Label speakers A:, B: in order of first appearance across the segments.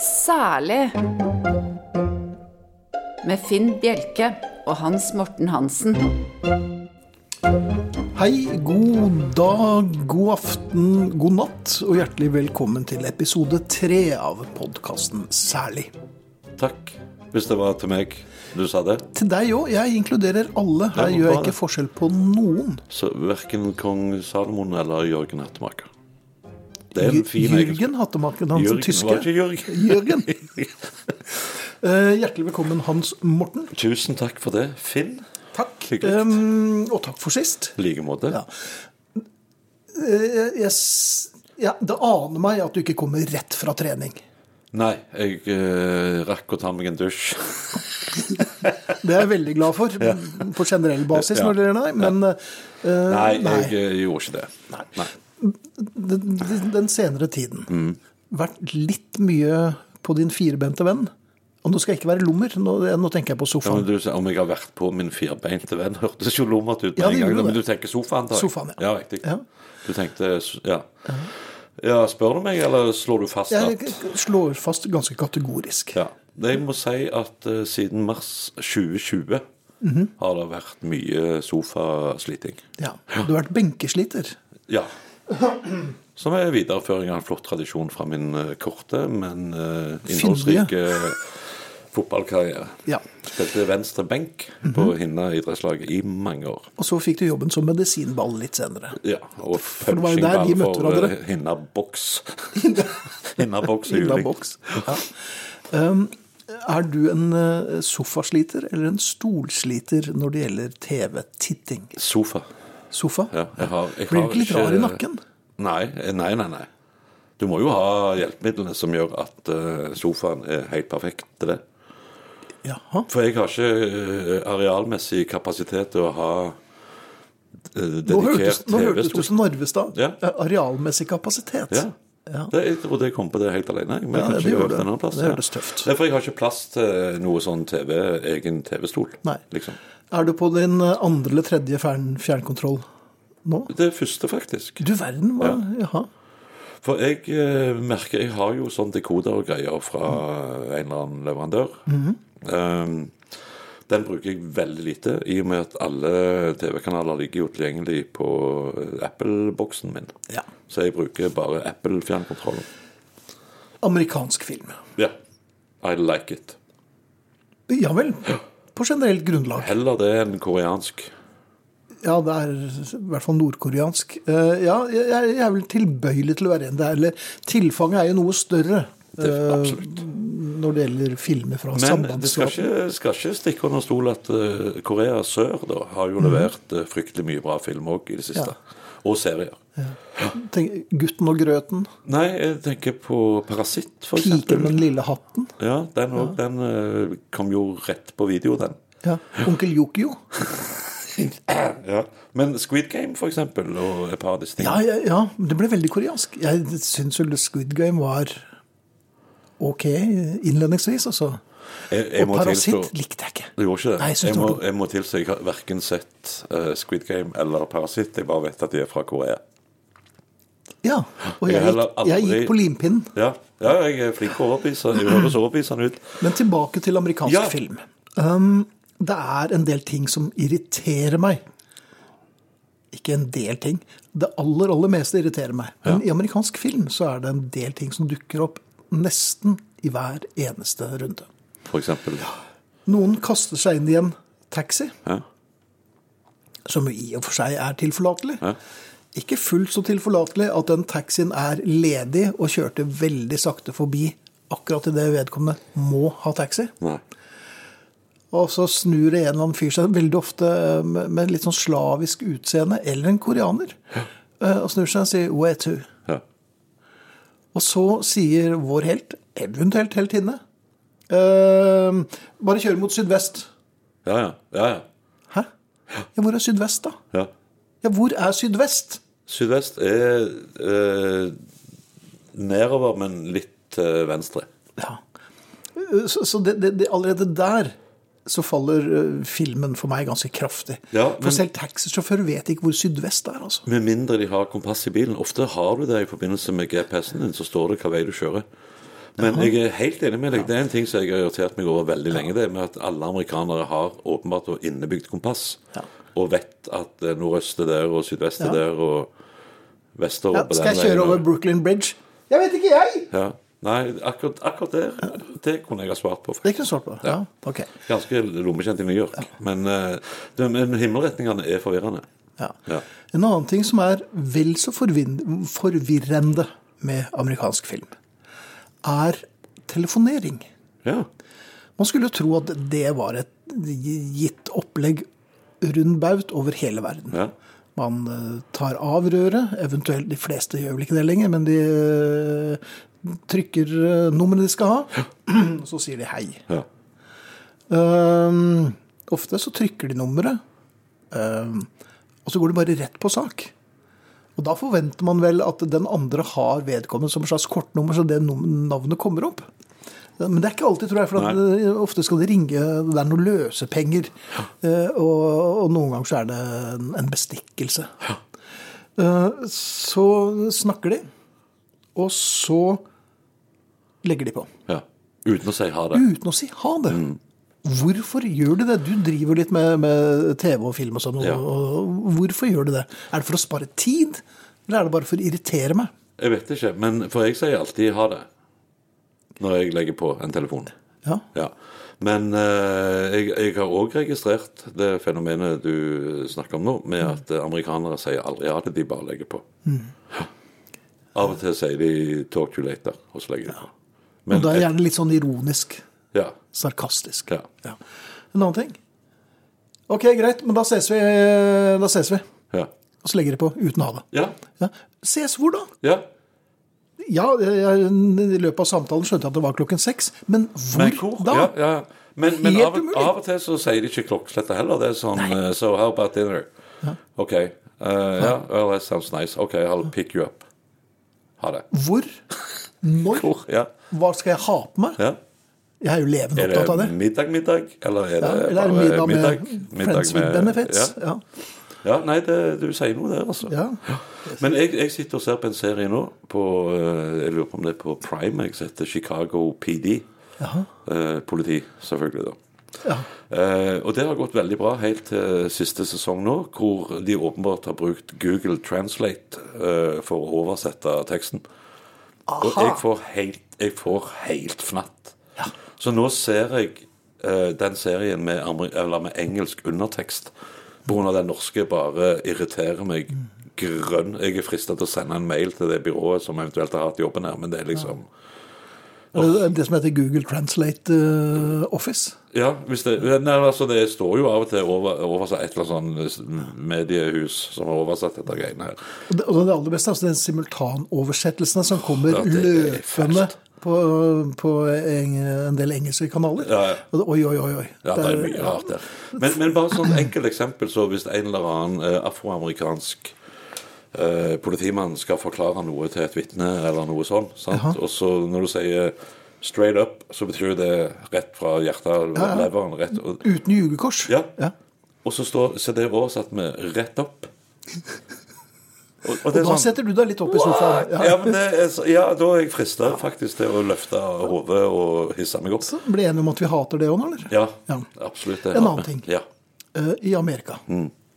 A: Særlig med Finn Bjelke og Hans Morten Hansen.
B: Hei, god dag, god aften, god natt, og hjertelig velkommen til episode tre av podkasten Særlig.
C: Takk. Hvis det var til meg du sa det,
B: Til deg òg, jeg inkluderer alle. Her
C: Ja,
B: gjør jeg
C: bare.
B: ikke forskjell på noen.
C: så verken kong Salomon eller Jørgen Hattemaker. Det er en
B: Jør-
C: fin egenskap.
B: Jørgen Hattemaken, han som
C: Jørgen,
B: tyske.
C: var ikke Jørgen.
B: Jørgen. Eh, hjertelig velkommen, Hans Morten.
C: Tusen takk for det, Finn.
B: Takk.
C: Hyggelig.
B: Um, og takk for sist.
C: I like måte.
B: ja. Eh, jeg, s- ja, det aner meg at du ikke kommer rett fra trening.
C: Nei, jeg eh, rakk å ta meg en dusj.
B: Det er jeg veldig glad for, på generell basis,
C: Ja.
B: når det gjelder deg. Men eh,
C: Nei,
B: nei.
C: jeg eh, gjorde ikke det. Nei.
B: den, den- den senere tiden
C: Mm.
B: vært litt mye på din firbente venn. Og nå skal jeg ikke være lommer, nå, nå tenker jeg på
C: Ja, men
B: sofaen.
C: du, sa om jeg har vært på min firbeinte venn, hørtes jo lommert ut med
B: Ja, det
C: en gang.
B: gjorde
C: Men du
B: det.
C: tenker sofa, antar jeg?
B: Sofaen, ja.
C: ja riktig.
B: Ja.
C: Du tenkte Ja. ja. Spør du meg, eller slår du fast
B: Jeg
C: at
B: slår fast ganske kategorisk.
C: Ja. Det jeg må si at eh, siden mars 2020
B: Mhm.
C: har det vært mye sofasliting.
B: Ja. Du har vært benkesliter.
C: Ja. Som er videreføring av en flott tradisjon fra min eh, korte, men eh, innholdsrike fotballkarriere.
B: Ja. Mhm.
C: Spilte venstre benk på Hinna idrettslag i mange år.
B: Og så fikk du jobben som medisinball litt senere.
C: Ja, og
B: det var jo der de
C: punchingball
B: møtte
C: for
B: hverandre.
C: eh, Hinna boks. Hinna boks og
B: Inna
C: juling.
B: boks. Ja. Um, er du en eh, sofasliter eller en stolsliter når det gjelder TV-titting?
C: Sofa.
B: Sofa?
C: Ja, jeg har, jeg
B: Blir du
C: har
B: ikke litt rar i nakken?
C: Nei, eh, nei, nei. nei. Du må jo ha hjelpemidlene som gjør at eh, sofaen er helt perfekt til det.
B: Jaha.
C: For jeg har ikke eh, arealmessig kapasitet til å ha eh,
B: Nå hørtes,
C: dedikert
B: nå hørtes du
C: TV-stol.
B: som Narvestad.
C: Ja.
B: Arealmessig kapasitet.
C: Ja.
B: Ja.
C: Det, jeg trodde jeg kom på det helt alene. jeg, Men
B: Ja,
C: kanskje
B: det
C: jeg
B: gjorde
C: hørte
B: du.
C: en annen plass,
B: Det
C: ja.
B: hørtes tøft.
C: Nei, for jeg har ikke plass til noe sånn TV, egen TV-stol.
B: Nei.
C: Liksom.
B: Er du på din eh, andre eller tredje fjern, fjernkontroll nå?
C: Det er første, faktisk.
B: Du verden, hva? Jaha.
C: For jeg eh, merker Jeg har jo sånn dekoder og greier fra en eller annen leverandør.
B: Mhm.
C: um, den bruker jeg veldig lite, i og med at alle TV-kanaler ligger jo tilgjengelig på eh, Apple-boksen min.
B: Ja.
C: Så jeg bruker bare Apple-fjernkontrollen.
B: Amerikansk film.
C: Ja. I like it.
B: Ja vel. På generelt grunnlag.
C: Heller det enn koreansk.
B: Ja, det er i hvert fall nordkoreansk. Eh, Ja, jeg jeg er vel tilbøyelig til å være enig der. Eller tilfanget er jo noe større
C: Det,
B: eh,
C: absolutt.
B: når det gjelder filmer fra
C: Men det
B: sambandsstaten.
C: skal ikke, skal ikke stikke under stol at eh, Korea sør da, har jo levert eh, fryktelig mye bra film òg i det siste.
B: Mhm. Ja.
C: Og serier.
B: Tenk, gutten og grøten.
C: Nei, jeg tenker på Parasitt, for
B: Piken med
C: eksempel.
B: den lille hatten.
C: Ja, den, og, den eh, kom jo rett på video, den.
B: Ja. Onkel Yokio.
C: Ja. Men Squid Game, for eksempel, og et par av disse
B: Ja,
C: tingene.
B: ja, ja, men det ble veldig koreansk. Jeg syns jo Squid Game var ok innledningsvis, altså.
C: Jeg, jeg
B: Og
C: må
B: Parasitt
C: tilstå-
B: likte jeg ikke.
C: Du gjorde ikke det?
B: Nei, jeg synes
C: jeg, må,
B: det var-
C: jeg må tilstå jeg har verken sett eh, Squid Game eller Parasitt. Jeg bare vet at de er fra Korea.
B: Ja, og jeg,
C: har heller
B: gikk, jeg gikk
C: aldri-
B: på limpinnen.
C: Ja, ja jeg er flink til å overbevise. Jeg høres overbevisende ut.
B: Men tilbake til amerikansk
C: Ja.
B: film. Um, det er en del ting som irriterer meg. Ikke en del ting. Det aller, aller meste irriterer meg. Men i amerikansk film så er det en del ting som dukker opp nesten i hver eneste runde.
C: For eksempel.
B: Noen kaster seg inn i en taxi.
C: Ja.
B: som jo i og for seg er tilforlatelig.
C: Ja.
B: Ikke fullt så tilforlatelig at den taxien er ledig og kjørte veldig sakte forbi akkurat idet vedkommende må ha taxi.
C: Nei.
B: Og så snur det en eller annen fyr seg, veldig ofte eh, med med litt sånn slavisk utseende, eller en koreaner, eh, og snur seg og sier 'where to'?
C: Ja.
B: Og så sier vår helt, evnhundhelt, heltinne uh, Bare kjør mot sydvest.
C: Ja, ja. ja, ja.
B: Hæ? Ja, hvor er sydvest, da?
C: ja.
B: Ja, hvor er sydvest?
C: Sydvest er eh, nedover, men litt til venstre.
B: Ja. Eh, Så, så det, det, det, allerede der så faller eh, filmen for meg ganske kraftig.
C: Ja, men-
B: For selv taxisjåfører vet ikke hvor sydvest er, altså.
C: Med mindre de har kompass i bilen. Ofte har du det i forbindelse med GPS-en din, så står det hva vei du kjører. Men jeg er helt enig med deg. Det er en ting som jeg har irritert meg over veldig lenge. Det er med at alle amerikanere har åpenbart og innebygd kompass.
B: Ja.
C: Og vet at eh, nordøst er der, og sydvest er
B: Ja.
C: der, og vestår
B: Ja,
C: på den
B: skal jeg kjøre
C: veien, og-
B: over Brooklyn Bridge? Jeg vet ikke, jeg!
C: Ja. Nei, akkurat, akkurat der, det kunne jeg ha svart på.
B: Det kunne du svart på. Ja. Ok.
C: Ganske lommekjent i New York. Men, eh, det- men himmelretningene er forvirrende.
B: Ja.
C: Ja.
B: En annen ting som er vel så forvin- forvirrende med amerikansk film, er telefonering.
C: Ja.
B: Man skulle jo tro at det var et gitt opplegg rundbaut over hele verden.
C: Ja.
B: Man eh, tar av røret, eventuelt de fleste gjør vel ikke det lenger, men de eh, trykker eh, nummeret de skal ha, så sier de hei.
C: ja.
B: Ehm, ofte så trykker de nummeret, ehm, og så går det bare rett på sak. Og da forventer man vel at den andre har vedkommende som et slags kortnummer, så det num- navnet kommer opp. Men det er ikke alltid, tror jeg. For at eh, ofte skal de ringe Det er noen løsepenger. eh, Og, og noen ganger så er det en- en bestikkelse. Eh, Så snakker de, og så legger de på.
C: ja. Uten å si ha det.
B: Uten å si ha det. Hvorfor gjør de det? Du driver litt med, med TV og film og sånn. og-
C: Ja.
B: og Hvorfor gjør de det? Er det for å spare tid, eller er det bare for å irritere meg?
C: Jeg vet ikke, men for jeg sier alltid ha det når jeg legger på en telefon.
B: Ja.
C: Ja. Men eh, jeg, jeg har òg registrert det fenomenet du snakker om nå, med at eh, amerikanere sier aldri ha det, de bare legger på.
B: Mm.
C: Ja. Av og til sier de 'talk to you later', og så legger de på.
B: Og da er
C: et-
B: det gjerne litt sånn ironisk,
C: ja,
B: sarkastisk.
C: Ja.
B: En annen ting. Ok, greit, men da ses vi. Da ses vi.
C: ja.
B: Og så legger de på uten ha det.
C: Ja.
B: Ja. Ses hvor da?
C: ja.
B: Ja, jeg, I løpet av samtalen skjønte jeg at det var klokken seks, men hvor,
C: Men hvor?
B: da?
C: Ja, ja. Men, men
B: Helt
C: av,
B: umulig.
C: av og til så sier de ikke klokkesletta heller. Det er sånn eh, So how about dinner? OK. eh, ja, well, that sounds nice. OK, I'll pick you up. Ha det.
B: Hvor? Når?
C: Hvor? Ja.
B: Hva skal jeg ha på meg?
C: ja.
B: Jeg er jo levende
C: Er
B: opptatt av
C: det
B: det.
C: middag, middag? Eller er det,
B: Ja, eller er det
C: bare
B: middag med
C: eh, Middag
B: friends with
C: med-
B: benefits?
C: Ja.
B: Ja.
C: ja, nei, det, du sier noe der, altså.
B: Ja.
C: Men jeg, jeg sitter og ser på en serie nå på, eh, Jeg lurer på om det er på Prime. Jeg som heter Chicago PD. Eh, politi, selvfølgelig, da.
B: Ja.
C: Eh, og det har gått veldig bra helt til siste sesong nå, hvor de åpenbart har brukt Google Translate eh, for å oversette teksten. Og jeg får helt, jeg får helt fnatt. Så nå ser jeg eh, den serien med, amer- eller med engelsk undertekst. Pga. den norske bare irriterer meg grønn. Jeg er frista til å sende en mail til det byrået som eventuelt har hatt jobben her, men det er liksom
B: Det, det som heter Google Translate eh, Office.
C: Ja, hvis det, nei, altså det står jo av og til over, oversatt et eller annet sånn mediehus som har oversatt dette greiene her.
B: Og det, og det aller beste er altså den simultanoversettelsene som kommer
C: Ja, det er
B: løpende
C: fælt.
B: på, på en, en del engelske kanaler.
C: Ja, ja.
B: Og det- Oi, oi, oi. oi.
C: Ja, det er mye rart der. Men, men bare sånn enkelt eksempel, så hvis en eller annen eh, afroamerikansk eh, politimann skal forklare noe til et vitne eller noe sånn, sant? og så når du sier straight up, så betyr jo det rett fra hjertet, leveren, rett og,
B: Uten jugekors.
C: Ja. og så, står, så er det oversatt med rett opp. Og, og det sånn-
B: Da setter du deg litt opp i sofaen.
C: Ja, men det er, så- ja da er jeg frista faktisk til å løfte hodet og hisse meg opp.
B: Så ble enige om at vi hater det òg nå, eller?
C: Ja,
B: Ja.
C: absolutt. det
B: En
C: har
B: annen
C: vi.
B: ting.
C: Ja.
B: Eh, I Amerika.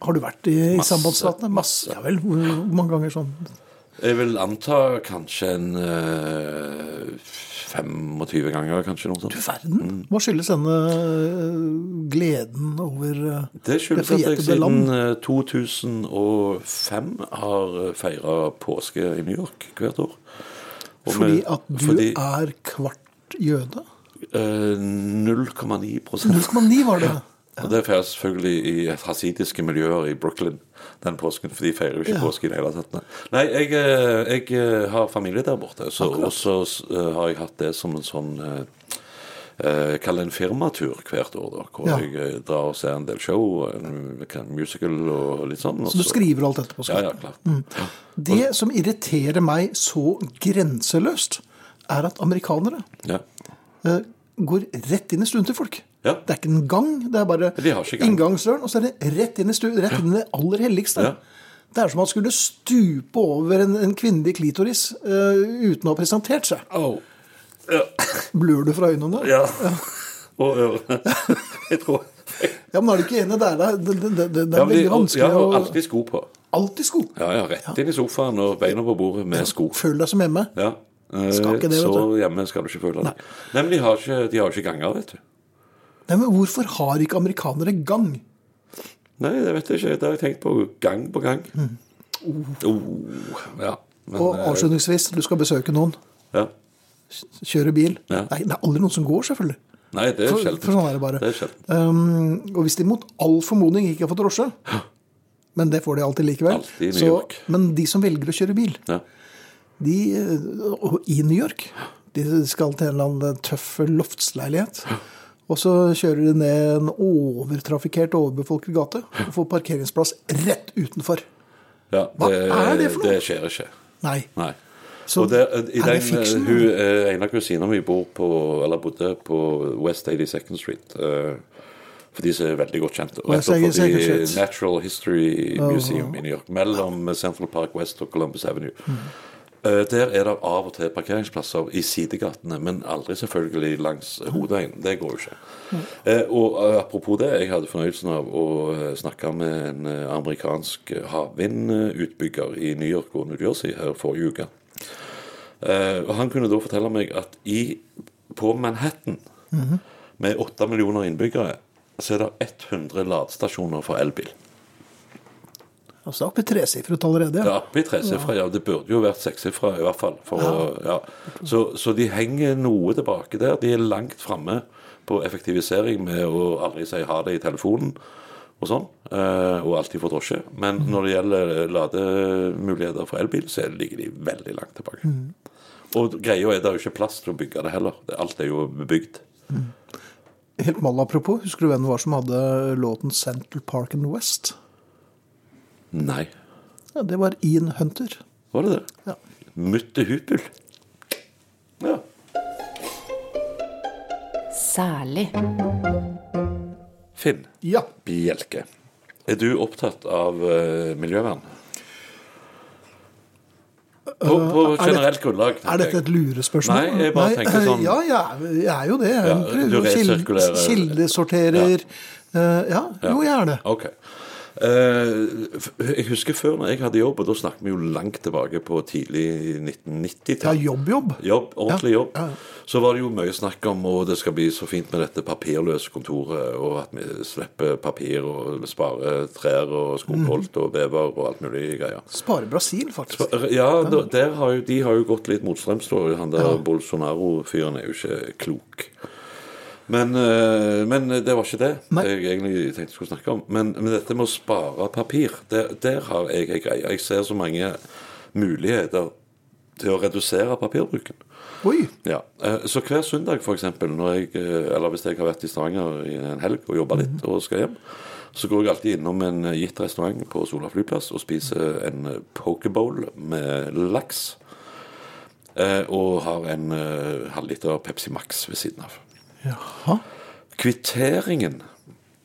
B: Har du vært i, i
C: Mm. Masse.
B: sambandsstatene? Masse. Ja vel. Hvor hvor mange ganger sånn?
C: Jeg vil anta kanskje en eh, 25 ganger, kanskje noe sånt.
B: Du
C: Mm.
B: verden. Hva skyldes denne øh, gleden over øh,
C: Det skyldes at jeg
B: forjettede land?
C: siden eh, 2005 har feira påske i New York hvert år. Og
B: Fordi
C: med-
B: at du
C: eh, fordi,
B: er kvart jøde?
C: eh, 0,9
B: 0,9 var det.
C: Og det feirer selvfølgelig i hasidiske miljøer i Brooklyn den påsken, for de feirer jo ikke
B: Ja.
C: påske i det hele tatt. nei. Nei, jeg, eh, jeg eh, har familie der borte, så, og så eh, har jeg hatt det som en sånn eh, eh, Jeg kaller det en firmatur hvert år, da, hvor
B: Ja.
C: jeg eh, drar og ser en del show, en musical og litt sånn. og
B: Så du skriver Mm. alt dette på
C: Ja,
B: skrift?
C: ja, klart.
B: Det som irriterer meg så grenseløst, er at amerikanere
C: Ja.
B: eh, går rett inn i stuen til folk.
C: Ja.
B: Det er ikke en gang, det er bare
C: De har ikke gang.
B: inngangsdøren, og så er det rett inn i stuen, rett inn i det aller helligste.
C: Ja.
B: Det er som om han skulle stupe over en, en kvinnelig klitoris eh, uten å ha presentert seg.
C: Oh. Ja.
B: Blør du fra øynene?
C: ja. og ørene. jeg tror
B: Ja, men er du ikke enig? Det er, det, det, det, det er
C: Ja, men de-
B: veldig vanskelig
C: Jeg har
B: å
C: alltid sko på.
B: Alltid sko.
C: Ja, ja, rett inn i sofaen og beina på bordet med sko.
B: Føl deg som hjemme.
C: Ja. Eh,
B: Skal ikke det, vet
C: så
B: du.
C: hjemme skal du ikke føle det. Nei, men de har ikke, de har ikke ganger, vet du.
B: Nei, men hvorfor har ikke amerikanere gang?
C: Nei, det vet jeg ikke. Det har jeg tenkt på gang på gang. Oh, ja. Men,
B: Mm. Og
C: eh,
B: avslutningsvis, du skal besøke noen,
C: ja.
B: kjøre bil.
C: Ja.
B: Nei, det er aldri noen som går, selvfølgelig.
C: Nei, det er
B: For,
C: sjelden.
B: for sånn er det bare.
C: Det er sjelden.
B: Um, og hvis de mot all formodning ikke har fått drosje, men det får de alltid likevel
C: Alltid i New
B: så-
C: York.
B: Men de som velger å kjøre bil
C: Ja.
B: de, eh, og i New York De skal til en eller annen eh, tøff loftsleilighet. Og så kjører de ned en overtrafikkert, overbefolket gate og får parkeringsplass rett utenfor.
C: Ja,
B: Hva er det for noe?
C: Det skjer ikke.
B: Nei.
C: Nei.
B: Så
C: og det, eh, i
B: er
C: den,
B: det fiksjon?
C: Hun, eh, en av kusina mi bor på, eller bodde på West 82nd Street. eh, for de som er veldig godt kjent. Og
B: West
C: etter
B: 82nd
C: forbi
B: Street.
C: Natural History Museum i New York. Mellom Central Park West og Columbus Avenue. Eh, der er det av og til parkeringsplasser i sidegatene, men aldri selvfølgelig langs hovedveien. Det går jo ikke. Eh, og eh, apropos det, jeg hadde fornøyelsen av å eh, snakke med en eh, amerikansk eh, havvindutbygger i New York og New Jersey her forrige uke. Eh, og han kunne da fortelle meg at i, på Manhattan, med åtte millioner innbyggere, så er det 100 ladestasjoner for elbil.
B: Altså, det er oppe i tresifret allerede.
C: Det er oppe i tresifra, ja. Det burde jo vært sekssifra i hvert fall. For Å, ja. så, så de henger noe tilbake der. De er langt framme på effektivisering med å aldri si ha det i telefonen og sånn. eh, Og alltid få drosje. Men når det gjelder lademuligheter for elbil, så ligger de veldig langt tilbake. Og greia er det er jo ikke plass til å bygge det heller. Det- Alt er jo bebygd.
B: Helt mal apropos, husker du hvem det var som hadde låten 'Central Park and West'?
C: Nei.
B: Ja, det var Ian Hunter.
C: Var det det?
B: Ja.
C: Mutte Hupel. Ja.
A: Særlig.
C: Finn.
B: Ja.
C: Bjelke. Er du opptatt av eh, miljøvern? På, på
B: Eh, er det-
C: generelt grunnlag.
B: Er dette et lurespørsmål? eh,
C: Nei, jeg bare tenker sånn-
B: Ja, jeg er, jeg er jo det. Jeg
C: Ja,
B: prøver
C: du
B: å kilde-
C: resirkulerer.
B: kildesorterer. Eh, Ja. jo, jeg er det.
C: Ok. Eh, f- jeg husker før når jeg hadde jobb, og da snakker vi jo langt tilbake på tidlig
B: Ja,
C: 1990-tall.
B: jobb, jobb.
C: Jobb, ordentlig
B: Ja,
C: jobb.
B: ja.
C: Så var det jo mye snakk om at det skal bli så fint med dette papirløse kontoret, og at vi slipper papir og sparer trær og skogholt
B: Mm.
C: og bever og alt mulig greier.
B: Spare Brasil, faktisk.
C: Ja, da- der har jo, de har jo gått litt motstrøms. da. Han der Bolsonaro-fyren er jo ikke klok. Men, eh, men det var ikke det
B: Nei.
C: jeg egentlig tenkte jeg skulle snakke om. Men, men dette med å spare papir, der, der har jeg ei greie. Jeg ser så mange muligheter til å redusere papirbruken.
B: Oi.
C: Ja, eh, Så hver søndag, for eksempel, når jeg, eh, eller hvis jeg har vært i Stavanger i en helg og jobba litt og skal hjem, så går jeg alltid innom en eh, gitt restaurant på Sola flyplass og spiser en eh, pokeball med laks. eh, Og har en eh, halvliter Pepsi Max ved siden av.
B: Jaha.
C: Kvitteringen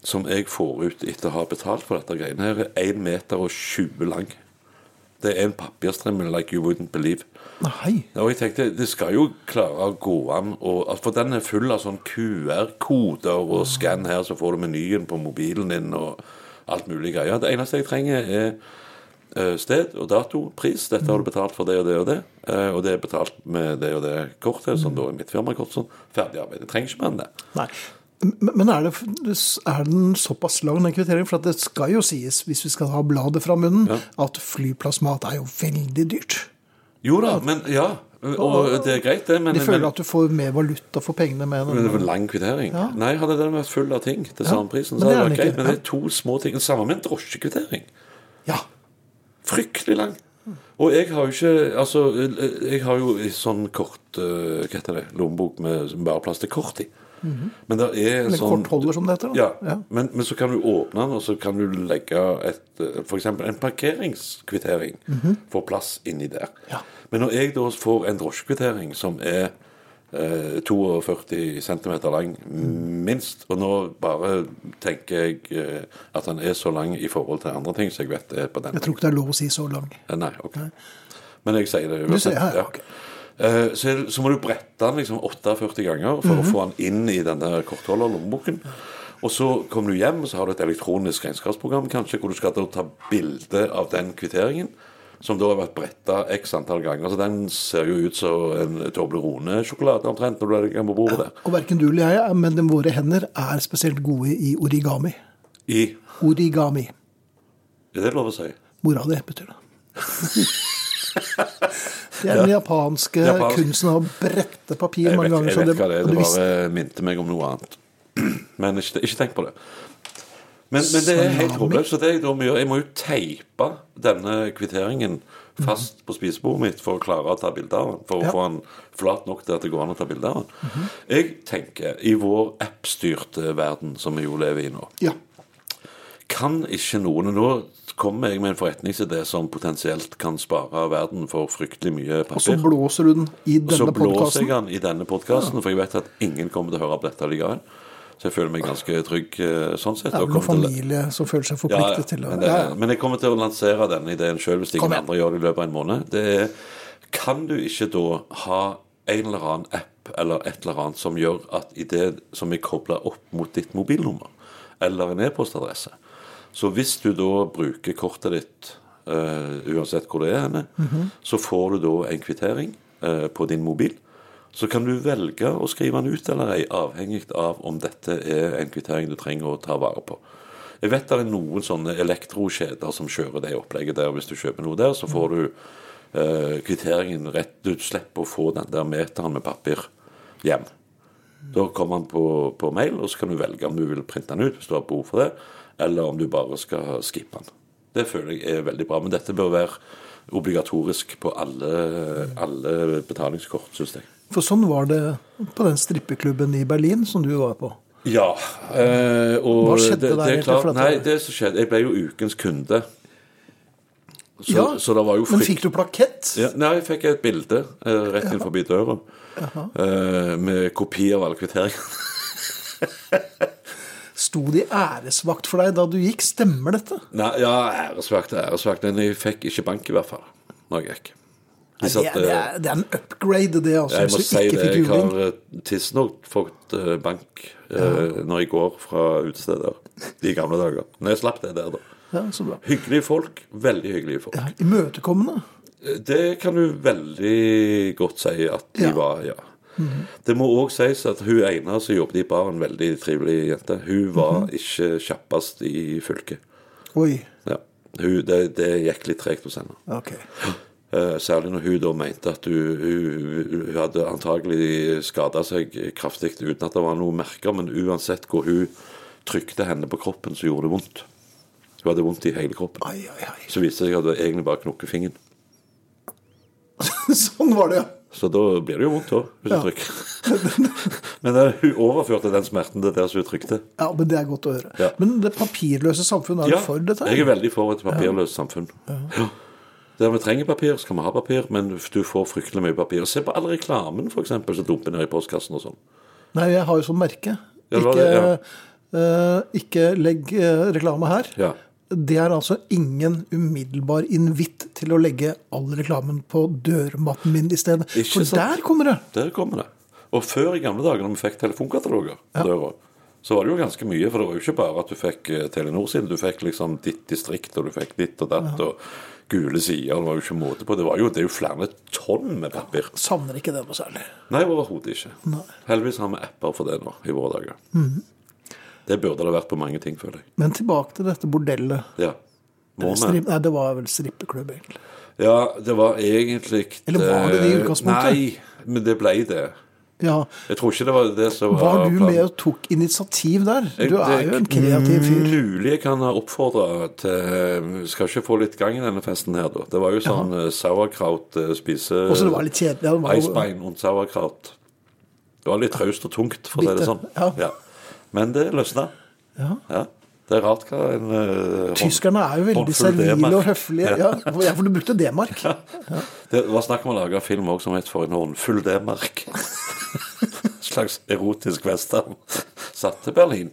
C: som jeg får ut etter å ha betalt for dette greiene her, er 1 meter og 20 lang. Det er en papirstrimmel like you wouldn't believe.
B: Nei.
C: Ja, Og jeg tenkte, det skal jo klare å gå an, og, at- for den er full av sånn QR-koder og skann her, så får du menyen på mobilen din og alt mulig greier. Det eneste jeg trenger er eh, sted og dato, pris, dette har du betalt for det og det og det, eh, og det er betalt med det og det kortet, som da er mitt firmakort, sånn, ferdig arbeid. Jeg trenger ikke mer enn det.
B: Nei. Men men er, det, er den såpass lang, den kvitteringen? For at det skal jo sies, hvis vi skal ha bladet fra munnen, at flyplassmat er jo veldig dyrt.
C: Jo da, men ja, og det er greit, det, men
B: De føler
C: men-
B: at du får mer valuta for pengene med
C: Men det var
B: den.
C: lang kvittering. Nei, hadde den vært full av ting til samme prisen,
B: men
C: så
B: det
C: hadde
B: er
C: det
B: den
C: vært greit.
B: ikke.
C: Men det er to små ting. Samme med en drosjekvittering.
B: Ja.
C: Fryktelig lang. Og jeg har jo ikke Altså, jeg har jo en sånn kort eh, Hva heter det? Lommebok med som bare har plass til kort i.
B: Mhm.
C: Men det er en
B: Eller
C: sånn
B: kortholder, som det heter. da.
C: ja, men, men så kan du åpne den, og så kan du legge et f.eks. en parkeringskvittering. Få plass inni der.
B: Mhm. Ja.
C: Men når jeg da får en drosjekvittering som er eh, 42 cm lang, minst Og nå bare tenker jeg eh, at den er så lang i forhold til andre ting, så jeg vet det er på den.
B: Jeg tror ikke det er lov å si så lang.
C: Eh, Nei, ok. Men jeg sier det
B: sier, ja, ja, ok.
C: Eh, Så, er det- så må du brette den liksom 48 ganger for
B: Mhm.
C: å få den inn i den der kortholderlommeboken. Og så kommer du hjem, og så har du et elektronisk regnskapsprogram kanskje, hvor du skal da ta bilde av den kvitteringen, som da har vært bretta x antall ganger. Så den ser jo ut som en Toblerone-sjokolade omtrent når du legger den på bordet der.
B: Og verken du eller jeg, er- men de, våre hender er spesielt gode i origami.
C: I
B: Origami.
C: Er det lov å si?
B: Mora di, betyr det. Det er den japanske
C: Japansk.
B: kunsten av å brette papir
C: Jeg
B: mange
C: vet,
B: ganger.
C: jeg
B: så
C: vet hva det er,
B: og
C: det
B: du visste-
C: bare minte meg om noe annet. Men ikke, ikke tenk på det. Men, men det er helt
B: Salami.
C: håpløst. Så det jeg da må gjøre, jeg må jo teipe denne kvitteringen fast på spisebordet mitt for å klare å ta bilde av den. For å
B: Mhm. Ja. Mhm.
C: få den flat nok til at det går an å ta bilde av den. Jeg tenker, i vår appstyrte verden som vi jo lever i nå,
B: Ja.
C: kan ikke noen og Nå kommer jeg med en forretningsidé som potensielt kan spare verden for fryktelig mye papir.
B: Og så blåser du den i
C: Og så
B: denne
C: blåser
B: podkasten.
C: jeg den i denne podkasten, for jeg vet at ingen kommer til å høre på dette likevel. Så jeg føler meg ganske trygg eh, sånn sett.
B: Det er
C: og
B: vel noen
C: kommer til å-
B: familie som føler seg
C: ja,
B: forpliktet
C: ja,
B: til å
C: men, det,
B: ja, ja.
C: men jeg kommer til å lansere denne ideen sjøl hvis
B: Kom
C: ingen
B: igjen.
C: andre gjør det i løpet av en måned. Det er, kan du ikke da ha en eller annen app eller et eller annet som gjør at i det som er kobla opp mot ditt mobilnummer eller en e-postadresse Så hvis du da bruker kortet ditt eh, uansett hvor det er henne,
B: Mhm.
C: så får du da en kvittering eh, på din mobil. Så kan du velge å skrive den ut eller ei, avhengig av om dette er en kvittering du trenger å ta vare på. Jeg vet det er noen sånne elektrokjeder som kjører det opplegget der. Hvis du kjøper noe der, så får du eh, kvitteringen rett Du slipper å få den der meteren med papir hjem. Da kommer den på, på mail, og så kan du velge om du vil printe den ut hvis du har behov for det, eller om du bare skal skippe den. Det føler jeg er veldig bra. Men dette bør være obligatorisk på alle, alle betalingskort, syns jeg.
B: For sånn var det på den strippeklubben i Berlin som du var på.
C: Ja. eh, og
B: Hva skjedde der
C: det, det er
B: egentlig?
C: klart,
B: For at-
C: Nei, det som skjedde Jeg ble jo ukens kunde. Så,
B: Ja,
C: så det var jo
B: Men fikk du plakett?
C: ja, Nei, jeg fikk et bilde eh, rett inn forbi døra eh, med kopi av alle kvitteringene.
B: Sto de æresvakt for deg da du gikk? Stemmer dette?
C: Nei, ja, æresvakt er æresvakt. Men jeg fikk ikke bank, i hvert fall. Når jeg gikk. De
B: Nei, det,
C: satt,
B: er, det,
C: eh,
B: er, det er en upgrade, det, altså.
C: jeg må
B: hvis du
C: si
B: ikke
C: det.
B: fikk
C: Jeg
B: juling.
C: har eh, tidsnok fått eh, bank eh, når jeg går fra utesteder i gamle dager. Men jeg slapp det der, da.
B: Ja, så bra.
C: Hyggelige folk. Veldig hyggelige folk.
B: Ja, Imøtekommende.
C: Det kan du veldig godt si at de
B: Ja.
C: var, ja. Det må òg sies at hun ene som jobbet i baren, veldig trivelig jente, hun var ikke kjappest i fylket.
B: Oi.
C: Ja. Hun, det, det gikk litt tregt hos henne.
B: Ok.
C: Eh, Særlig når hun da mente at hun, hun, hun hadde antagelig skada seg kraftig uten at det var noen merker, men uansett hvor hun trykte henne på kroppen, så gjorde det vondt. Hun hadde vondt i hele kroppen.
B: Ai, ai, ai.
C: Så viste det seg at hun egentlig bare knukket fingeren.
B: Sånn var det, ja.
C: Så da blir det jo vondt òg, hvis
B: Ja.
C: du trykker. Men eh, hun overførte den smerten til der som hun trykte.
B: Ja, men Det er godt å høre.
C: Ja.
B: Men det papirløse samfunnet er
C: Ja,
B: jo for dette.
C: jeg er veldig for et papirløst samfunn. Ja. Der vi trenger papir, skal vi ha papir, men du får fryktelig mye papir. Se på all reklamen for eksempel, som dumper ned i postkassen og sånn.
B: Nei, jeg har jo sånn merke.
C: Ja, det var
B: Ikke,
C: det,
B: eh, ikke legg eh, reklame her.
C: Ja.
B: Det er altså ingen umiddelbar invitt til å legge all reklamen på dørmatten min i stedet.
C: Ikke
B: For
C: sant?
B: der kommer det!
C: Der kommer det. Og før i gamle dager, når vi fikk telefonkataloger på døra, så var det jo ganske mye. For det var jo ikke bare at du fikk eh, Telenor sin, du fikk liksom ditt distrikt, og du fikk ditt og datt, og gule sider. Det var jo ikke måte på. Det, var jo, det er jo flere tonn med papir.
B: Savner ikke det noe særlig.
C: Nei, overhodet ikke. Heldigvis har vi apper for det nå i våre dager.
B: Mhm.
C: Det burde det vært på mange ting, føler jeg.
B: Men tilbake til dette bordellet.
C: Ja. Må
B: Eller
C: vi?
B: Strip, nei, det var vel strippeklubb, egentlig.
C: Ja, det var egentlig
B: Eller var det det i
C: eh,
B: utgangspunktet?
C: Nei, men det ble det.
B: Ja.
C: Jeg tror ikke det var det som
B: Var du
C: planen.
B: med og tok initiativ der? Du
C: Eh, Det Mm,
B: er jo en kreativ fyr.
C: Mulig jeg kan oppfordre til Skal ikke få litt gang i denne festen her, da. Det var jo sånn ja. sauerkraut eh, spise
B: Og så det var litt kjedelig. Det var jo-
C: Eisbein og sauerkraut. Det var litt traust og tungt, for å si det sånn.
B: Bitte, ja.
C: Men det løsna.
B: Ja.
C: Ja. Det er rart hva en eh, hånd-
B: Tyskerne er jo veldig
C: håndfull
B: servile
C: D-mark.
B: og høflige. Ja, ja, for du brukte D-mark.
C: Det var snakk om å lage en film også som het For en håndfull D-mark. slags erotisk western satt til Berlin.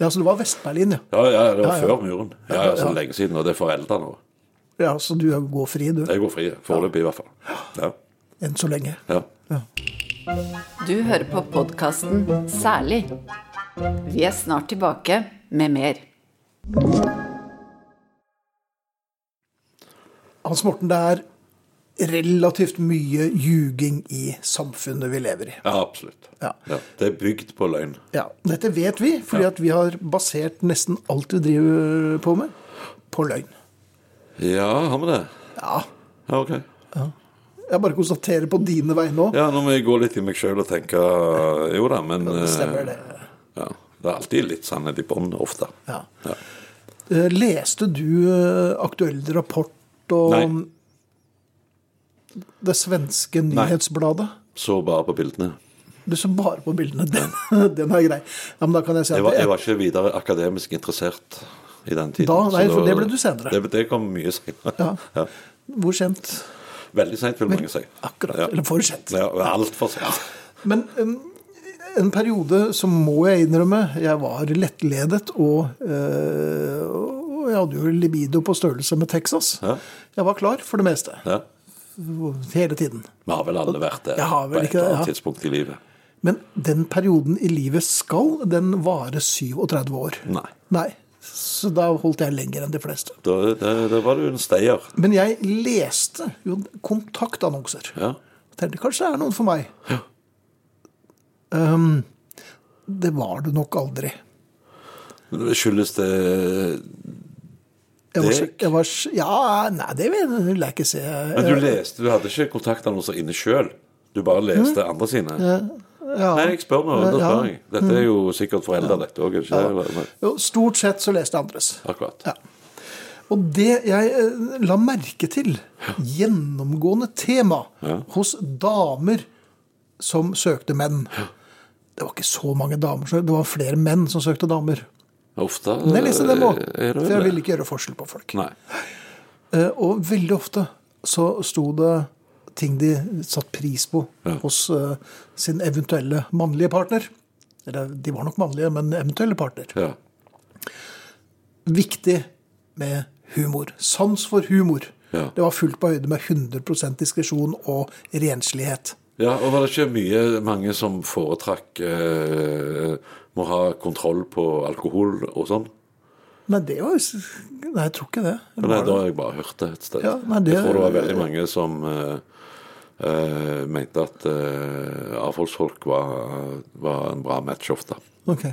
B: Ja, så det var Vest-Berlin, ja.
C: Ja, ja, det
B: Ja,
C: var
B: ja.
C: før muren. Ja, ja, så
B: Ja.
C: lenge siden, og det er forelda nå.
B: ja. Så du går fri, du.
C: Jeg går fri, foreløpig i hvert fall. Ja,
B: Enn så lenge.
C: ja.
A: Du hører på podkasten Særlig. Vi er snart tilbake med mer.
B: Hans Morten, det er relativt mye ljuging i samfunnet vi lever i.
C: ja absolutt.
B: Ja.
C: Ja. Det er bygd på løgn.
B: Ja, Dette vet vi, fordi at vi har basert nesten alt vi driver på med, på løgn.
C: Ja, har vi det?
B: Ja,
C: Ja, ok.
B: Jeg bare konstaterer på dine vegne òg.
C: Ja, nå må jeg gå litt i meg sjøl og tenke Jo da, men
B: Det stemmer, det.
C: eh, Ja, det er alltid litt sannhet i bånn, ofte.
B: Ja.
C: Ja.
B: Eh, Leste du eh, aktuell rapport om
C: Nei.
B: det svenske nyhetsbladet?
C: Så bare på bildene.
B: Du så bare på bildene. Den, den er grei. Ja, men da kan jeg si at
C: Jeg var, jeg var ikke videre akademisk interessert i den tiden.
B: Da?
C: så
B: Nei, for
C: var-
B: det ble du senere.
C: Det, det kom mye senere.
B: Ja.
C: Ja.
B: Hvor sent?
C: Veldig seint, vil mange si.
B: Akkurat.
C: Ja.
B: Eller for sent.
C: Ja, Altfor sent.
B: Men em, en periode, så må jeg innrømme, jeg var lettledet, og, eh, og jeg hadde jo libido på størrelse med Texas.
C: Ja.
B: Jeg var klar for det meste.
C: Ja.
B: Hele tiden.
C: Vi har vel alle vært der
B: Jeg har vel
C: på et
B: ikke det,
C: eller annet
B: ja.
C: tidspunkt i livet.
B: Men den perioden i livet skal, den vare 37 år.
C: Nei.
B: Nei. Så da holdt jeg lenger enn de fleste.
C: Da, da, da var du en stayer.
B: Men jeg leste jo kontaktannonser.
C: Ja.
B: Tenkte kanskje det er noen for meg. Ehm, det var det nok aldri.
C: Skyldes det
B: Jeg var,
C: Dek?
B: jeg var, ja, nei, det vil jeg ikke si.
C: Men du
B: Eh.
C: leste, du hadde ikke kontaktannonser inne sjøl? Du bare leste andre sine? Nei, jeg spør nå. Da spør jeg. Dette er
B: Mm.
C: jo sikkert foreldre, dette òg, ikke det?
B: Eh, Jo, Stort sett så leste jeg andres.
C: Akkurat.
B: Ja. Og det jeg eh, la merke til, gjennomgående tema hos damer som søkte menn. Det var ikke så mange damer, som- det var flere menn som søkte damer.
C: Ofte
B: Men jeg leste dem òg,
C: er Eh, det
B: for jeg
C: vel
B: ville ikke gjøre forskjell på folk.
C: Nei.
B: Eh, Og veldig ofte så sto det ting de satte pris på hos eh, sin eventuelle mannlige partner. Eller de var nok mannlige, men eventuelle partner.
C: Ja.
B: viktig med humor. Sans for humor.
C: Ja.
B: Det var fullt på høyde med 100 diskresjon og renslighet.
C: ja. Og var det ikke mye mange som foretrakk eh, må ha kontroll på alkohol og sånn?
B: Nei, det var Nei, jeg tror ikke det. Eller
C: Nei,
B: var
C: da
B: det?
C: har jeg bare hørt det et sted.
B: Ja, nei, det-
C: Jeg tror det var veldig mange som eh, eh, mente at eh, avholdsfolk var, var en bra match ofte.
B: Ok.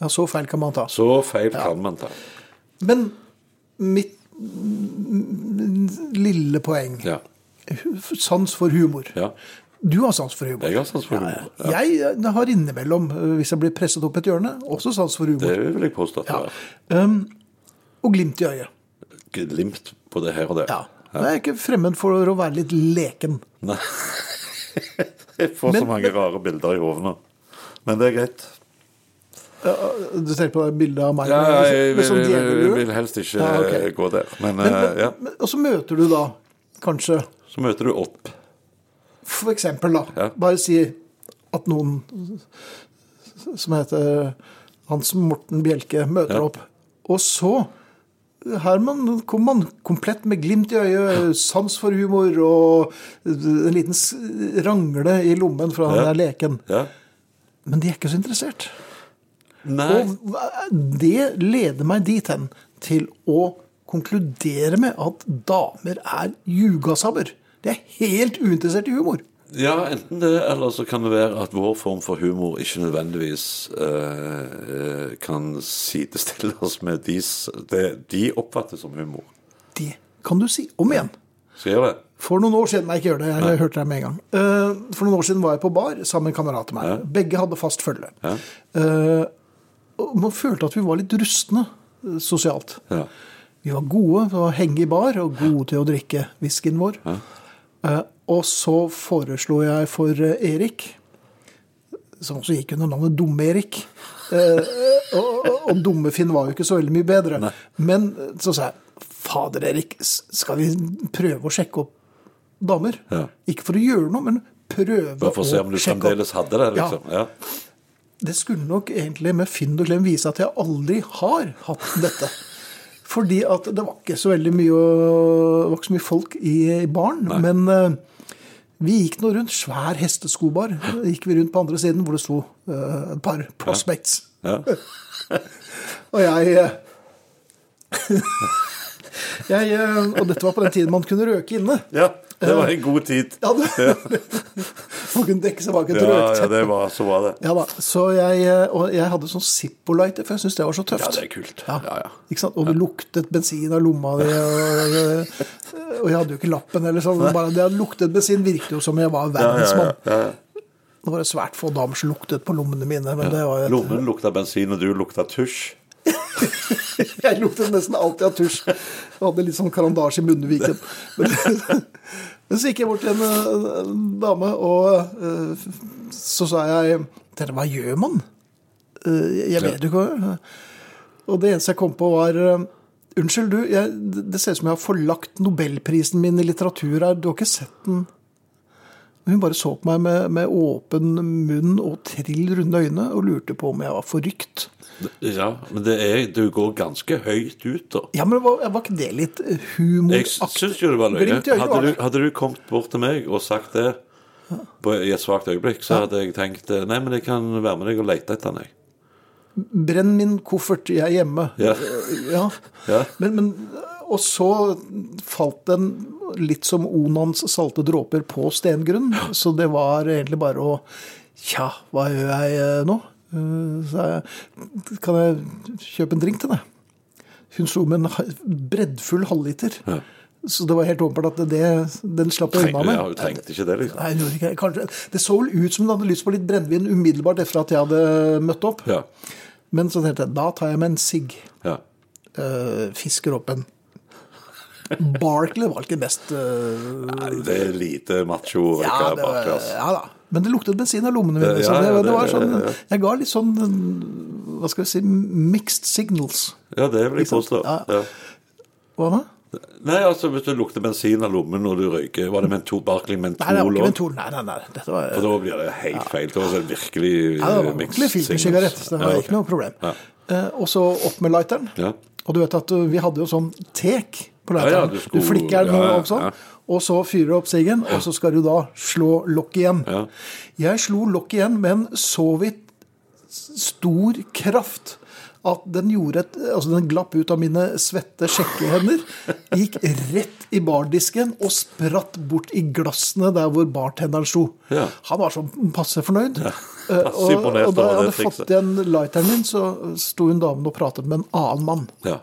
B: Ja, så feil kan man ta.
C: Så feil kan man ta.
B: Men mitt mm, lille poeng
C: Ja.
B: Sans for humor.
C: ja.
B: Du har sans for humor.
C: Jeg har sans for humor. Ja,
B: Jeg har innimellom, eh, hvis jeg blir presset opp et hjørne, også sans for humor.
C: Det vil jeg påstå at det
B: Ja.
C: er.
B: Um, og glimt i øyet.
C: Glimt på det her og der.
B: Ja. Jeg er ikke fremmed for å være litt leken.
C: Nei. Jeg får
B: Men-
C: så mange rare bilder i hodet nå. Men det er greit.
B: Du tenker på det bildet av meg?
C: Ja,
B: med-
C: jeg
B: med sånn
C: vil,
B: djevelue?
C: vil helst ikke
B: Ja, ok.
C: eh, gå der. Men,
B: Men,
C: eh, ja.
B: men- Og så møter du da kanskje
C: Så møter du opp.
B: For eksempel, da.
C: Ja.
B: Bare si at noen som heter Hans Morten Bjelke, møter
C: Ja.
B: opp. Og så her man, kom man komplett med glimt i øyet, sans for humor og en liten s- rangle i lommen for han
C: Ja.
B: er leken.
C: Ja.
B: Men de er ikke så interessert.
C: Nei.
B: Og hva- det leder meg dit hen til å konkludere med at damer er ljugasabber. De er helt uinteressert i humor.
C: Ja, enten det, eller så kan det være at vår form for humor ikke nødvendigvis eh, eh, kan sidestilles med de, s- det de oppfatter som humor.
B: Det kan du si. Om igjen.
C: Skal jeg gjøre det?
B: For noen år siden Nei, ikke gjør det. Jeg hørte det med en gang. Eh, for noen år siden var jeg på bar sammen med en kamerat av meg. Begge hadde fast følge.
C: Ja.
B: Eh, og man følte at vi var litt rustne eh, sosialt.
C: Ja.
B: Vi var gode til å henge i bar og gode til å drikke whiskyen vår. Eh, og så foreslo jeg for eh, Erik, som også gikk under navnet Dumme-Erik eh, og, og, og Dumme-Finn var jo ikke så veldig mye bedre. Men eh, så sa jeg Fader, Erik, s- skal vi prøve å sjekke opp damer?
C: Ja.
B: Ikke for å gjøre noe, men prøve
C: Bare for å se om du
B: sjekke opp.
C: fremdeles hadde det,
B: Ja.
C: liksom. Ja.
B: Det skulle nok egentlig med Finn og Klem vise at jeg aldri har hatt dette. Fordi at det var ikke så veldig mye, å- det var ikke så mye folk i i baren. Men eh, vi gikk nå rundt svær hesteskobar. Gikk vi rundt på andre siden hvor det sto eh, et par prospects.
C: Ja.
B: Og jeg eh, jeg, eh, og dette var på den tiden man kunne røke inne.
C: ja. Det var en god tid.
B: Ja, det, man kunne dekke seg bak et
C: Ja,
B: røkteppe.
C: ja det var, så var det.
B: Ja da, så jeg, eh, og jeg hadde sånn Zippo-lighter, for jeg syntes det var så tøft.
C: Ja, det er kult.
B: Ja.
C: Ja, ja.
B: Ikke sant? Og det luktet bensin av lomma di, og, og jeg hadde jo ikke lappen eller sånn. Bare det at luktet bensin virket jo som jeg var verdensmann. Det var svært få damer som luktet på lommene mine, men det var jo et,
C: Lommen lukta bensin, og du lukta tusj.
B: jeg luktet nesten alltid av tusj. Jeg hadde litt sånn karandasje i munnviken. Men, men så gikk jeg bort til en, eh, dame, og eh, så sa jeg til henne, hva gjør man? Eh, jeg vet jo ikke hva Og det eneste jeg kom på, var eh, Unnskyld, du, jeg, det ser ut som jeg har forlagt nobelprisen min i litteratur her. Du har ikke sett den? Hun bare så på meg med, med åpen munn og trill runde øyne og lurte på om jeg var forrykt.
C: Ja, men det er, du går ganske høyt ut, da.
B: Ja, men var, var ikke det litt
C: Jeg
B: humoraktig?
C: syns jo det var løye.
B: Glimt i øyet
C: Hadde
B: var
C: du,
B: det.
C: hadde du kommet bort til meg og sagt det på, i et svakt øyeblikk, så hadde jeg tenkt eh, Nei, men jeg kan være med deg og lete etter den, jeg.
B: Brenn min koffert, jeg er hjemme.
C: Ja.
B: Ja.
C: Ja.
B: Men, men, og så falt den litt som Onans salte dråper på stengrunn. Så det var egentlig bare å Tja, hva gjør jeg eh, nå? Eh, sa jeg. Kan jeg kjøpe en drink til deg? Hun sto med en ha- breddfull halvliter. Så det var helt åpenbart at det, den slapp jeg unna
C: Trengte,
B: med.
C: ja, hun trengte ikke det, liksom.
B: Nei, hun gjorde ikke det. Kanskje, det så vel ut som hun hadde lyst på litt brennevin umiddelbart etter at jeg hadde møtt opp.
C: Ja.
B: Men så tenkte jeg, da tar jeg med en sigg.
C: ja.
B: Eh, fisker opp en Barkley var ikke best eh,
C: Nei, det er lite macho.
B: ja,
C: Rikard
B: det var,
C: Bakke, altså.
B: ja da. Men det luktet bensin av lommene mine.
C: Det-
B: så
C: ja,
B: det,
C: ja,
B: det var
C: det-
B: sånn,
C: ja, ja.
B: jeg ga litt sånn Hva skal vi si Mixed signals.
C: ja, det vil jeg påstå.
B: Ja.
C: Ja.
B: Hva da?
C: Nei, altså, hvis du lukter bensin av lommen når du røyker, var det mentol, Barkley mentol
B: Nei, det var ikke
C: også?
B: mentol. Nei, nei, nei. Dette var,
C: For da blir det helt feil. Da er det virkelig eh,
B: ja, det var
C: mixed
B: ordentlig
C: signals.
B: filmsigarett. så Det var
C: Ja, ok.
B: ikke noe problem.
C: Ja.
B: Eh, og så opp med lighteren.
C: Ja.
B: Og du vet at uh, vi hadde jo sånn tek på
C: Ja, ja,
B: lighteren.
C: du
B: du,
C: skulle-
B: flikker den
C: ja, ja,
B: opp sånn,
C: ja.
B: og så fyrer du opp siggen, og så skal du da slå lokk igjen.
C: Ja.
B: Jeg slo lokk igjen med en så vidt stor kraft at den gjorde et Altså, den glapp ut av mine svette sjekkehender, gikk rett i bardisken og spratt bort i glassene der hvor bartenderen sto.
C: Ja.
B: Han var sånn passe fornøyd. Eh,
C: passe
B: og,
C: imponert
B: og da
C: over
B: jeg
C: det
B: hadde
C: trikset.
B: fått igjen lighteren min, så sto hun damen og pratet med en annen mann.
C: Ja,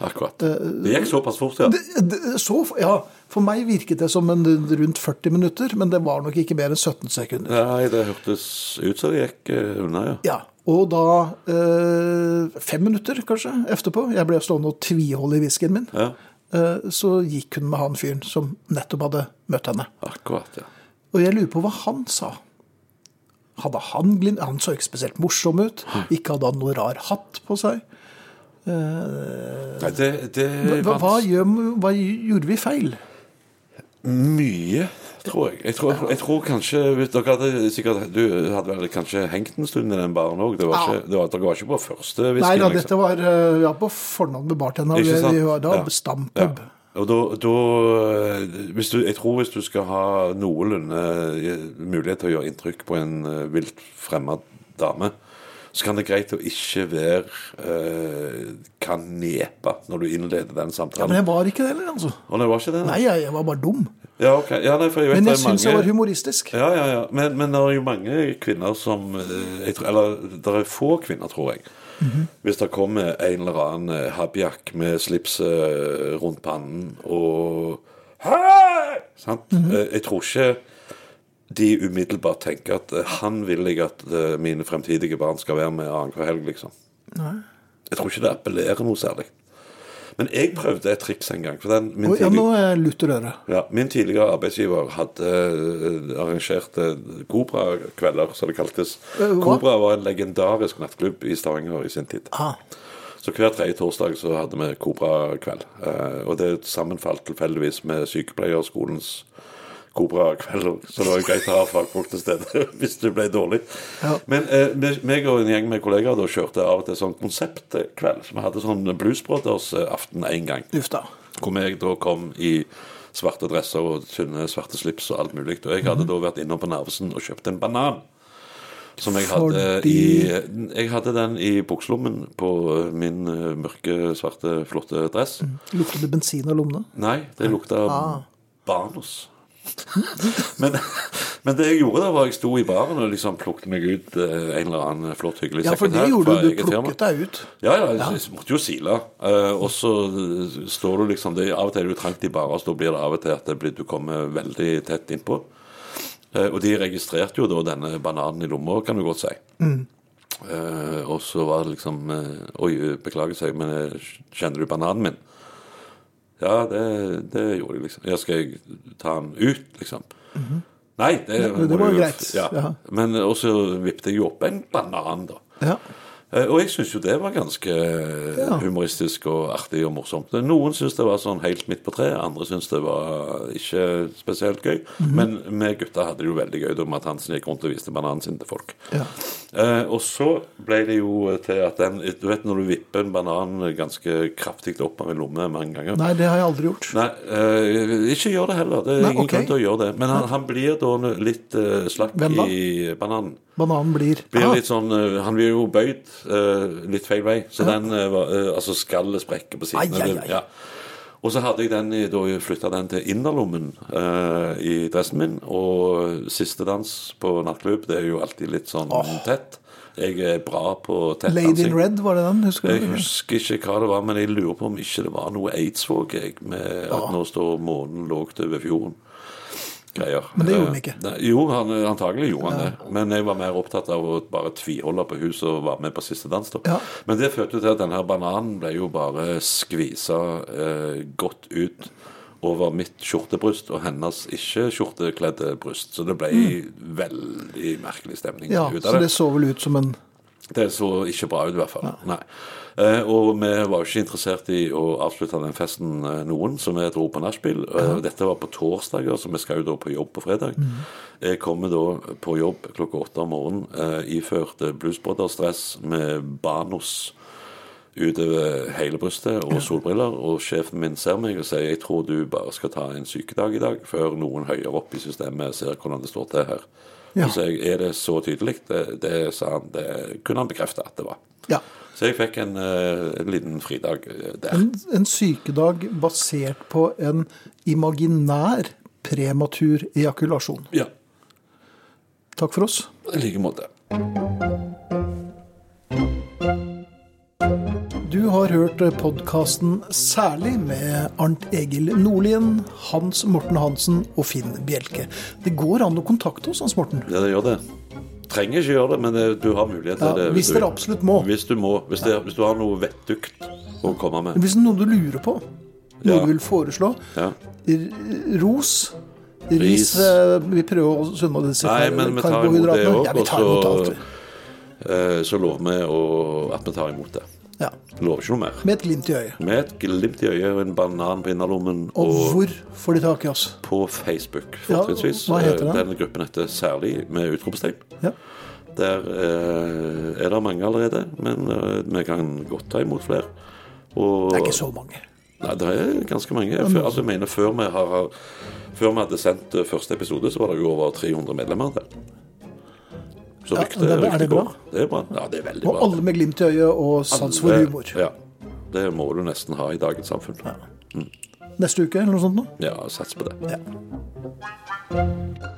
C: akkurat. Det gikk såpass fort, ja.
B: Eh, Det- Så, ja, for meg virket det som en rundt 40 minutter, men det var nok ikke mer enn 17 sekunder.
C: Nei, det hørtes ut som det gikk eh, unna, ja.
B: Ja, Og da eh, Fem minutter, kanskje, etterpå. Jeg ble stående og tviholde i whiskyen min.
C: Ja,
B: Eh, så gikk hun med han fyren som nettopp hadde møtt henne.
C: akkurat, ja.
B: Og jeg lurer på hva han sa. Hadde Han glin... Han så ikke spesielt morsom ut.
C: Hm.
B: Ikke hadde han noe rar hatt på seg. Eh,
C: Nei, det, det
B: Hva, hva, gjør, hva gjorde vi feil?
C: Mye, tror jeg. Jeg tror, jeg tror kanskje vet Dere hadde sikkert Du hadde vel kanskje hengt en stund i den baren òg? Dere var,
B: Ja.
C: ikke- det var, dere var ikke på første
B: Nei
C: liksom. whisky?
B: da, dette var eh, ja, på fornavn med bartenderen.
C: Ikke sant?
B: Vi, vi var da
C: Ja.
B: stampub.
C: Og da, da eh, hvis du, Jeg tror hvis du skal ha noenlunde eh, mulighet til å gjøre inntrykk på en eh, vilt fremmed dame, så kan det greit å ikke være eh, kanepa når du innleder den
B: Men
C: samtalen.
B: jeg var ikke det heller, altså.
C: Og det var ikke det?
B: Nei, jeg, jeg var bare dum.
C: Ja, ok. Ja, nei, for jeg vet
B: Men
C: det
B: jeg
C: er
B: syns
C: mange-
B: jeg var humoristisk.
C: Ja, ja, ja. Men, men det er jo mange kvinner som eh, jeg, tror- Eller det er få kvinner, tror jeg.
B: Mhm.
C: Hvis det kommer en eller annen eh, habjakk med slipset rundt pannen eh, og Hei! Sant?
B: Mhm.
C: Eh, Jeg tror ikke de umiddelbart tenker at eh, han vil jeg at eh, mine fremtidige barn skal være med annenhver helg, liksom. Jeg tror ikke det appellerer noe særlig. Men jeg prøvde et triks en gang. For den, min,
B: Og, ja, nå
C: tidlig,
B: er jeg lutter øre.
C: ja, min tidligere arbeidsgiver hadde eh, arrangert eh, Kobra-kvelder, som det kaltes.
B: Eh, hva?
C: Kobra var en legendarisk nattklubb i Stavanger i sin tid.
B: Ah,
C: Så hver tredje torsdag så hadde vi Kobra-kveld. Eh, og det sammenfalt tilfeldigvis med sykepleierskolens Kobra-kvelder. Så det var jo greit å ha fagfolk til stede hvis det ble dårlig.
B: Ja.
C: Men eh, vi- meg og en gjeng med kollegaer da kjørte av og til sånn konseptkveld. Så vi hadde sånn Blues Brothers-aften én gang.
B: uff da.
C: Hvor jeg da kom i svarte dresser og tynne svarte slips og alt mulig. Og jeg hadde
B: Mhm.
C: da vært innom på Narvesen og kjøpt en banan. Som jeg hadde
B: Fordi-
C: i Jeg hadde den i bukselommen på eh, min eh, mørke, svarte, flotte dress.
B: Lukter det bensin av lommene?
C: Nei, det lukta
B: Ah.
C: Banos. men, men det jeg gjorde da, var jeg sto i baren og liksom plukket meg ut eh, en eller annen flott, hyggelig
B: Ja, for det
C: sekretær
B: gjorde
C: fra
B: du.
C: eget
B: Du
C: firma.
B: plukket deg ut.
C: Ja, ja, jeg, jeg måtte jo sile. Eh, og så eh, står du liksom det, er Av og til er det jo trangt i barer, så da blir det av og til at det blir, du kommer veldig tett innpå. Eh, og de registrerte jo da denne bananen i lomma, kan du godt si.
B: Mm.
C: Eh, og så var det liksom eh, Oi, beklager seg, men eh, kjenner du bananen min? Ja, det, det gjorde jeg, liksom. Ja, skal jeg ta den ut, liksom? Nei, det,
B: Mhm. Ja, det
C: må
B: var
C: du-
B: greit.
C: Ja.
B: Ja.
C: Men eh, og så vippet jeg jo opp en banan, da.
B: Ja.
C: Eh, Og jeg syns jo det var ganske eh,
B: Ja.
C: humoristisk og artig og morsomt. Noen syns det var sånn helt midt på treet, andre syns det var ikke spesielt gøy.
B: Mhm.
C: Men vi gutta hadde det jo veldig gøy da Matt Hansen gikk rundt og viste bananen sin til folk.
B: Ja.
C: Eh, og så ble det jo til at den Du vet når du vipper en banan ganske kraftig opp av en lomme mange ganger?
B: Nei, det har jeg aldri gjort.
C: Nei, eh, ikke gjør det heller. Det er
B: Nei,
C: ingen
B: ok.
C: grunn til å gjøre det. Men han, han blir da litt eh, slakk
B: Hvem da?
C: i bananen
B: Bananen blir
C: blir
B: Ah,
C: litt sånn eh, Han blir jo bøyd eh, litt feil vei. Så den eh, var, eh, Altså skallet sprekker på siden.
B: Ai, ai,
C: Det-
B: ai.
C: Ja. Og så hadde jeg den i, da flytta den til innerlommen eh, i dressen min. Og siste dans på nattklubb, det er jo alltid litt sånn tett. Jeg er bra på tett
B: Lady in
C: dansing.
B: Red, var det den? Husker
C: Jeg
B: du?
C: husker ikke hva det var, men jeg lurer på om ikke det var noe aidsvåg jeg, med at nå står månen lågt over fjorden. Greier.
B: Men det gjorde han
C: Eh,
B: ikke.
C: Nei, jo, han, antagelig gjorde han det. Men jeg var mer opptatt av å bare tviholde på huset og være med på siste dans. da.
B: Ja.
C: Men det førte jo til at denne bananen ble jo bare skvisa eh, godt ut over mitt skjortebryst og hennes ikke-skjortekledde bryst. Så det ble veldig merkelig stemning
B: Mm. Ja,
C: ut av
B: så det så vel ut som en
C: det så ikke bra ut, i hvert fall. Nei. Eh, og vi var jo ikke interessert i å avslutte den festen eh, noen, så vi dro på nachspiel. Eh, Dette var på torsdager, så vi skal jo da på jobb på fredag. Jeg kommer da på jobb klokka åtte om morgenen eh, iført eh, Blues Brothers-dress med Banos utover hele brystet og solbriller. Og sjefen min ser meg og sier jeg tror du bare skal ta en sykedag i dag før noen høyere opp i systemet ser hvordan det står til her.
B: Ja.
C: Så jeg, er det så tydelig? Det, det sa han. Det kunne han bekrefte at det var.
B: Ja.
C: Så jeg fikk en, eh, en liten fridag eh, der.
B: En, en sykedag basert på en imaginær prematur ejakulasjon.
C: Ja.
B: Takk for oss.
C: I like måte.
B: Du har hørt podkasten Særlig med Arnt Egil Nordlien, Hans Morten Hansen og Finn Bjelke. Det går an å kontakte oss, Hans Morten.
C: Ja, det gjør det. Trenger ikke gjøre det, men det, du har mulighet til
B: Ja,
C: det.
B: hvis
C: du
B: dere
C: vil.
B: absolutt må.
C: Hvis du må. Hvis, det, hvis du har noe vettugt å komme med.
B: Hvis det er noe du lurer på, noe
C: Ja.
B: du vil foreslå,
C: Ja.
B: r- ros Ris.
C: Ris.
B: eh, Vi prøver å sunne det
C: Nei, men vi tar imot det
B: karbohydratene.
C: òg,
B: Ja, vi
C: og
B: tar imot alt.
C: så,
B: vi.
C: eh, så lover vi å- at vi tar imot det.
B: Ja.
C: Lover ikke noe mer.
B: Med et glimt i øyet.
C: Med et glimt i øyet og en banan på innerlommen.
B: Og
C: Og
B: hvor får de tak i oss?
C: på Facebook,
B: Ja,
C: fortrinnsvis.
B: hva heter
C: Eh,
B: den?
C: Denne gruppen heter Særlig med utropstegn.
B: Ja.
C: Der eh, er det mange allerede, men eh, vi kan godt ta imot flere. Og,
B: Det er ikke så mange.
C: Nei, det er ganske mange. Før, altså, jeg mener, før, vi har, før vi hadde sendt eh, første episode, så var det jo over 300 medlemmer der. Så
B: Ja,
C: ryktet
B: det er- er
C: ryktet
B: det bra?
C: går. Det er bra. Ja, det er veldig
B: Og
C: bra.
B: alle med glimt i øyet og sans for
C: Det-
B: humor.
C: Ja. Det må du nesten ha i dagens samfunn. Ja,
B: Neste uke eller noe sånt nå?
C: sats på det.
B: Ja.